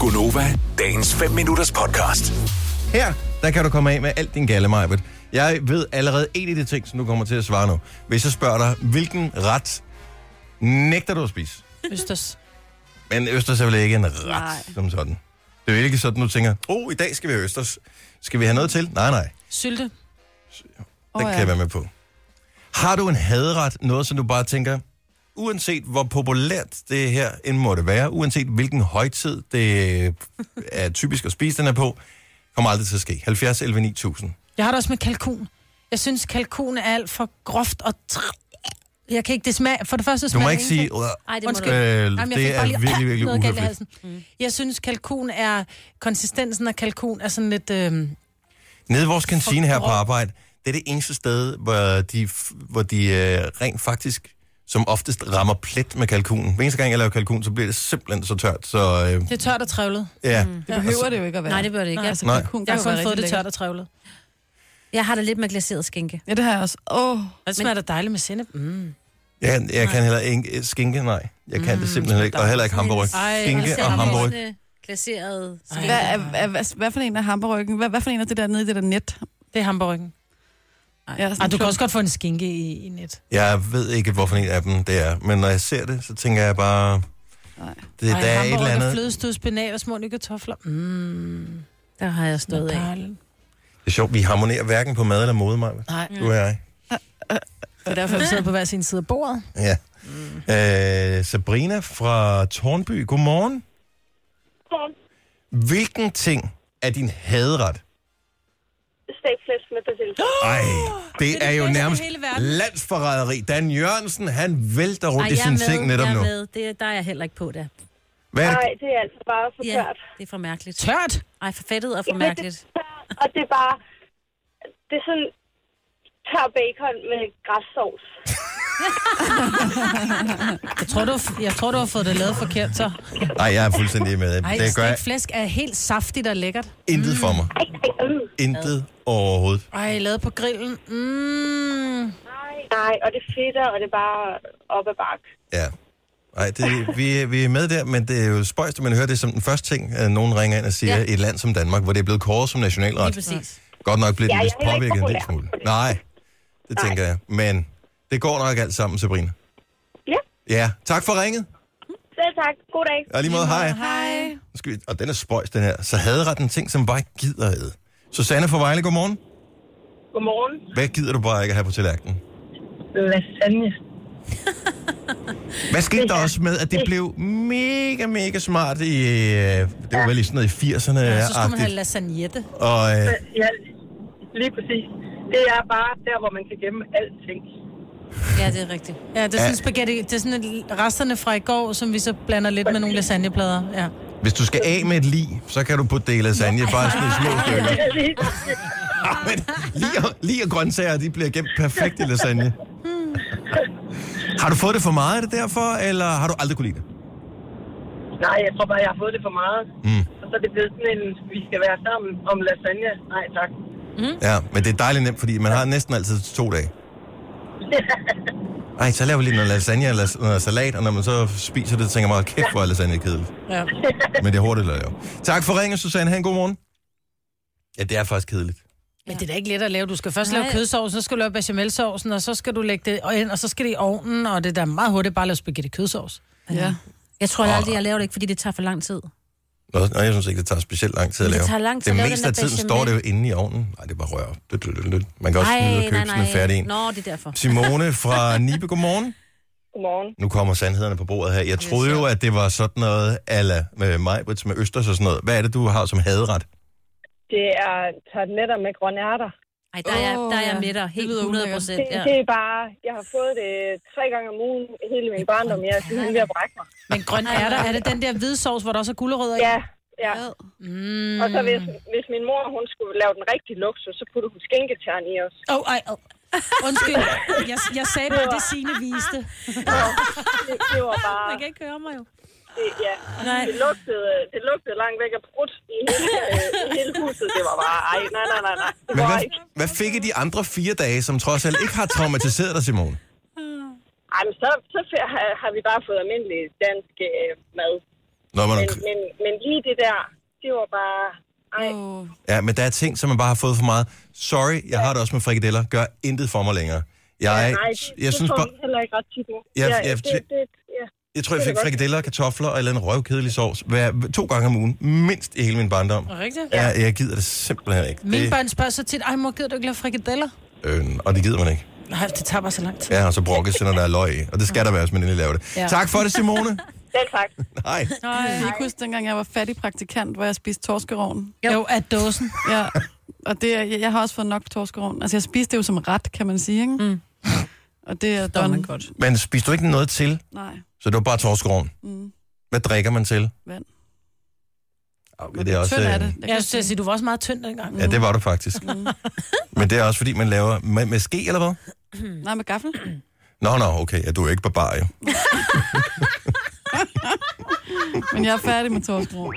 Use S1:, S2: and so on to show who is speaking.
S1: Gunova, dagens 5 minutters podcast.
S2: Her, der kan du komme af med alt din galle, Majbet. Jeg ved allerede en af de ting, som du kommer til at svare nu. Hvis jeg spørger dig, hvilken ret nægter du at spise?
S3: Østers.
S2: Men østers er vel ikke en ret
S3: Nej.
S2: som sådan. Det er jo ikke sådan, du tænker, oh, i dag skal vi have østers. Skal vi have noget til? Nej, nej. Den
S3: Sylte. Den
S2: oh, ja. kan jeg være med på. Har du en hadret, noget som du bare tænker, uanset hvor populært det her end måtte være, uanset hvilken højtid det er typisk at spise den er på, kommer aldrig til at ske. 70 11 9000.
S3: Jeg har det også med kalkun. Jeg synes, kalkun er alt for groft og... Tr- jeg kan ikke... Det smag... For det første
S2: Du
S3: smager
S2: må ikke
S3: det
S2: sige...
S3: ingenting.
S2: Øh,
S4: Ej, det må
S3: Undskyld.
S4: du ikke.
S2: øh,
S3: Jamen, jeg fik
S2: det er
S3: bare lige
S2: virkelig, virkelig
S3: noget galt i
S2: uhøfligt.
S3: halsen. Jeg synes, kalkun er... Konsistensen af kalkun er sådan lidt... Øh,
S2: Nede i vores kantine her på
S3: grov.
S2: arbejde, det er det eneste sted, hvor de, f- hvor de øh, rent faktisk som oftest rammer plet med kalkunen. Hver eneste gang, jeg laver kalkun, så bliver det simpelthen så tørt. Så øh,
S3: det er tørt og trævlet.
S2: ja,
S5: Det behøver det jo ikke at være.
S4: Nej, det bør det ikke.
S3: Nej.
S4: Altså,
S2: Nej.
S5: kalkun kan
S3: Jeg har
S5: jo være
S3: kun fået
S5: rigtig
S3: det
S5: lækkert.
S3: tørt og trævlet.
S4: Jeg har det lidt med glaseret skinke.
S5: Ja, det har jeg også. Åh,
S3: Og det smager da dejligt med sennep. Mm.
S2: jeg, jeg kan heller ikke øh, skinke, nej. Jeg kan det simpelthen ikke, og heller ikke hamburg.
S3: Ej,
S2: Skinke og
S3: og
S2: hamburg.
S4: øh, Glaseret.
S3: Ej.
S5: hvad, er, er, hvad, hvad for en er hamburgeren? Hvad, hvad for en er det der nede i det der net?
S3: Det er hamburgen.
S5: Ja, sådan
S3: Ej, du kan
S5: klump.
S3: også godt få en skinke i, i net.
S2: Jeg ved ikke, hvorfor en af dem det er, men når jeg ser det, så tænker jeg bare...
S5: Nej.
S2: Det, der er et eller andet...
S3: flødestød, spinat og små nye kartofler. Mm.
S4: Der har jeg stået af.
S3: dejligt.
S2: Det er sjovt, vi harmonerer hverken på mad eller mode, Maja.
S3: Nej,
S2: Du og jeg.
S3: det er derfor, vi sidder på hver sin side af bordet.
S2: Ja. Mm. Øh, Sabrina fra Tornby, godmorgen.
S6: Godmorgen.
S2: Hvilken ting er din hadret?
S6: Stegflæsk med persille.
S2: Ej, det,
S3: det
S2: er, jo
S3: bedste i
S2: nærmest
S3: hele verden.
S2: landsforræderi. Dan Jørgensen, han vælter rundt
S4: Ej,
S2: i
S4: jeg er
S2: sine
S4: med,
S2: ting netop
S4: jeg er
S2: nu.
S4: med. Det, der er jeg heller ikke på, der.
S2: Hvad er
S6: Nej,
S2: det?
S6: det er altså bare for
S4: Ja,
S6: tørt.
S4: det er for mærkeligt.
S3: Tørt?
S4: Ej, for fedtet og for
S6: Jamen,
S4: mærkeligt.
S6: Det er tørt, og det er bare... Det er sådan tør bacon med græssovs.
S3: Jeg tror, du, har- jeg tror, du har fået det lavet forkert, så.
S2: Nej, jeg er fuldstændig med.
S3: Ej,
S2: det gør
S3: stegt flæsk er helt saftigt og lækkert.
S2: intet for mig.
S6: Ej, ej, mm.
S2: Intet overhovedet.
S3: Ej, lavet på grillen. Mm.
S6: Nej, nej, og det er fedt, og det er bare op ad bakke.
S2: Ja. Ej, det, vi, vi er med der, men det er jo spøjst, at man hører det som den første ting, at nogen ringer ind og siger, ja.
S4: Ja.
S2: et land som Danmark, hvor det er blevet kåret som
S4: Lige
S2: nationalret.
S4: præcis.
S2: Godt nok blev den
S6: Ja,
S2: vist
S6: jeg er heller ikke
S2: påvirket en lille
S6: populær
S2: smule.
S6: på det.
S2: Nej, det tænker jeg. Men det går nok alt sammen, Sabrina.
S6: Ja,
S2: Ja, tak for ringet.
S6: selv tak. God dag.
S2: Og lige måde, hej.
S5: Hej.
S2: Nu skal vi- Og den er spøjs, den her. Så havde ret en ting, som bare ikke gider ad. Susanne fra Vejle, godmorgen.
S6: Godmorgen.
S2: Hvad gider du bare ikke at have på tallerkenen?
S6: Lasagne.
S2: Hvad skete der også med, at det blev mega, mega smart i... øh, Det var vel i sådan noget i 80'erne.
S3: Ja, ah, så skulle man have
S2: Ja,
S3: lasagnette.
S2: og øh,
S6: Ja, lige præcis. Det er bare der, hvor man kan gemme alting.
S4: Ja, det er rigtigt.
S3: Ja, det er sådan spaghetti. Det er sådan et- resterne fra i går, som vi så blander lidt med nogle lasagneplader. Ja.
S2: hvis du skal af med et lig, så kan du putte det i lasagne, bare sådan i små stykker. Ah, men Lig og, lig og grøntsager, de bliver gemt perfekt i lasagne. Har du fået det for meget, er det derfor, eller har du aldrig kunne lide det?
S6: Nej, jeg tror bare, jeg har fået det for meget.
S2: Mm.
S6: Og så er det blevet sådan en, vi skal være sammen om lasagne. Nej, tak.
S2: Ja, men det er dejligt nemt, fordi man har næsten altid to dage. Ej, så laver vi lige noget lasagne eller s- noget salat, og når man så spiser det, tænker man, "Hold kæft, hvor er lasagne kedeligt.
S3: ja.
S2: Men det er hurtigt at lave. Tak for ringen, Susanne. Ha' en god morgen. Ja, det er faktisk kedeligt.
S3: Men det er da ikke let at lave. Du skal først Nej. lave
S4: Nej.
S3: kødsovsen, så skal du lave bechamelsovsen, og så skal du lægge det ind, og så skal det i ovnen, og det er da meget hurtigt bare at lave spaghetti kødsovs.
S5: Ja.
S4: Jeg tror aldrig, jeg laver det ikke, fordi det tager for lang tid.
S2: Nå, nej, jeg synes ikke, det tager specielt lang tid at
S4: Men det
S2: lave.
S4: tager lang tid
S2: det
S4: at lave
S2: meste
S4: den
S2: af
S4: der
S2: tiden står det jo
S4: bechamel.
S2: inde i ovnen. Nej, det er bare rør. Dut, dut, dut, dut. Man kan også smide og købe sådan en færdig en.
S4: Nå, det er derfor.
S2: Simone fra Nibe, godmorgen.
S6: Godmorgen.
S2: Nu kommer sandhederne på bordet her. Jeg troede jo, at det var sådan noget, øh, ala med mig, med Østers og sådan noget. Hvad er det, du har som hadret?
S6: Det er tartletter med grønne ærter.
S4: Ej, der er, jeg- der er jeg
S5: Åh,
S4: med dig.
S5: ja.
S4: Helt
S5: Det lyder
S4: 100
S5: ulækkert.
S4: procent.
S6: Det,
S4: Ja.
S6: det er bare, jeg har fået det tre gange om ugen hele min barndom. Jeg er simpelthen ved at brække mig.
S3: Men grøn er der, er det den der hvide sovs, hvor der også er gulerødder i?
S6: Ja, ja.
S3: Mm.
S6: Og så hvis, hvis min mor hun skulle lave den rigtige luksus, så puttede hun skinketern i os.
S3: Åh, oh, ej, oh. Undskyld, jeg, jeg sagde bare, det sine viste.
S6: Det, det var bare,
S3: Man kan ikke høre mig jo.
S6: det, ja.
S4: Nej.
S6: Det lugtede, det lugtede langt væk af brudt i hele, øh, i hele huset. Det var bare, ej, nej, nej, nej, nej. Det
S2: Men
S6: var
S2: hvad,
S6: ikke.
S2: hvad fik I de andre fire dage, som trods alt ikke har traumatiseret dig, Simone?
S6: Ej, men så, så f- har, har vi bare fået almindelig dansk øh, mad.
S2: Når man,
S6: Men, øh, men, men lige det der, det var bare... Ej,
S5: Oh.
S2: ja, men der er ting, som man bare har fået for meget. Sorry, jeg har det også med frikadeller. Gør intet for mig længere. Jeg,
S6: nej, det,
S2: jeg synes
S6: det
S2: bare,
S6: får vi heller ikke ret tit nu.
S2: Ja,
S6: ja,
S2: ja,
S6: det, det, det, ja.
S2: jeg tror, jeg
S6: det er
S2: fik
S6: godt.
S2: frikadeller, kartofler og en eller anden røvkedelig sovs hver, to gange om ugen, mindst i hele min barndom.
S3: Rigtigt?
S2: Ja, jeg gider det simpelthen ikke.
S3: Mine
S2: Det-
S3: børn spørger så tit, ej mor, gider du ikke lave frikadeller?
S2: Øh, og det gider man ikke.
S3: Nej, det tager bare så lang tid.
S2: Ja, og så brokkes det, når der er løg i. Og det skal der være, hvis man endelig laver det. Ja.
S3: Ja.
S2: Tak for det, Simone.
S6: Selv tak.
S2: Nej.
S5: Jeg kan ikke huske, dengang jeg var fattig praktikant, hvor jeg spiste torskerovn.
S3: Jo, jo at dåsen.
S5: Ja. Og det, er- jeg, jeg har også fået nok torskerovn. Altså, jeg spiste det jo som ret, kan man sige, ikke? Mm. Og det er done.
S3: godt.
S2: Men spiste du ikke noget til,
S5: Nej,
S2: så det var bare torskroven.
S5: Mm.
S2: Hvad drikker man til?
S5: vand.
S2: Okay, det er også,
S5: Tynd er
S2: øh,
S5: det. Jeg
S3: Jeg
S5: kan
S3: synes, jeg
S5: sige,
S3: siger, du var også meget tynd dengang.
S2: Ja, det var du faktisk. Men det er også, fordi man laver med, med ske, eller hvad?
S5: nej, med gaffel.
S2: Nå, nå, okay. Ja, du er ikke barbar, jo.
S5: Men jeg er færdig med torskerovn.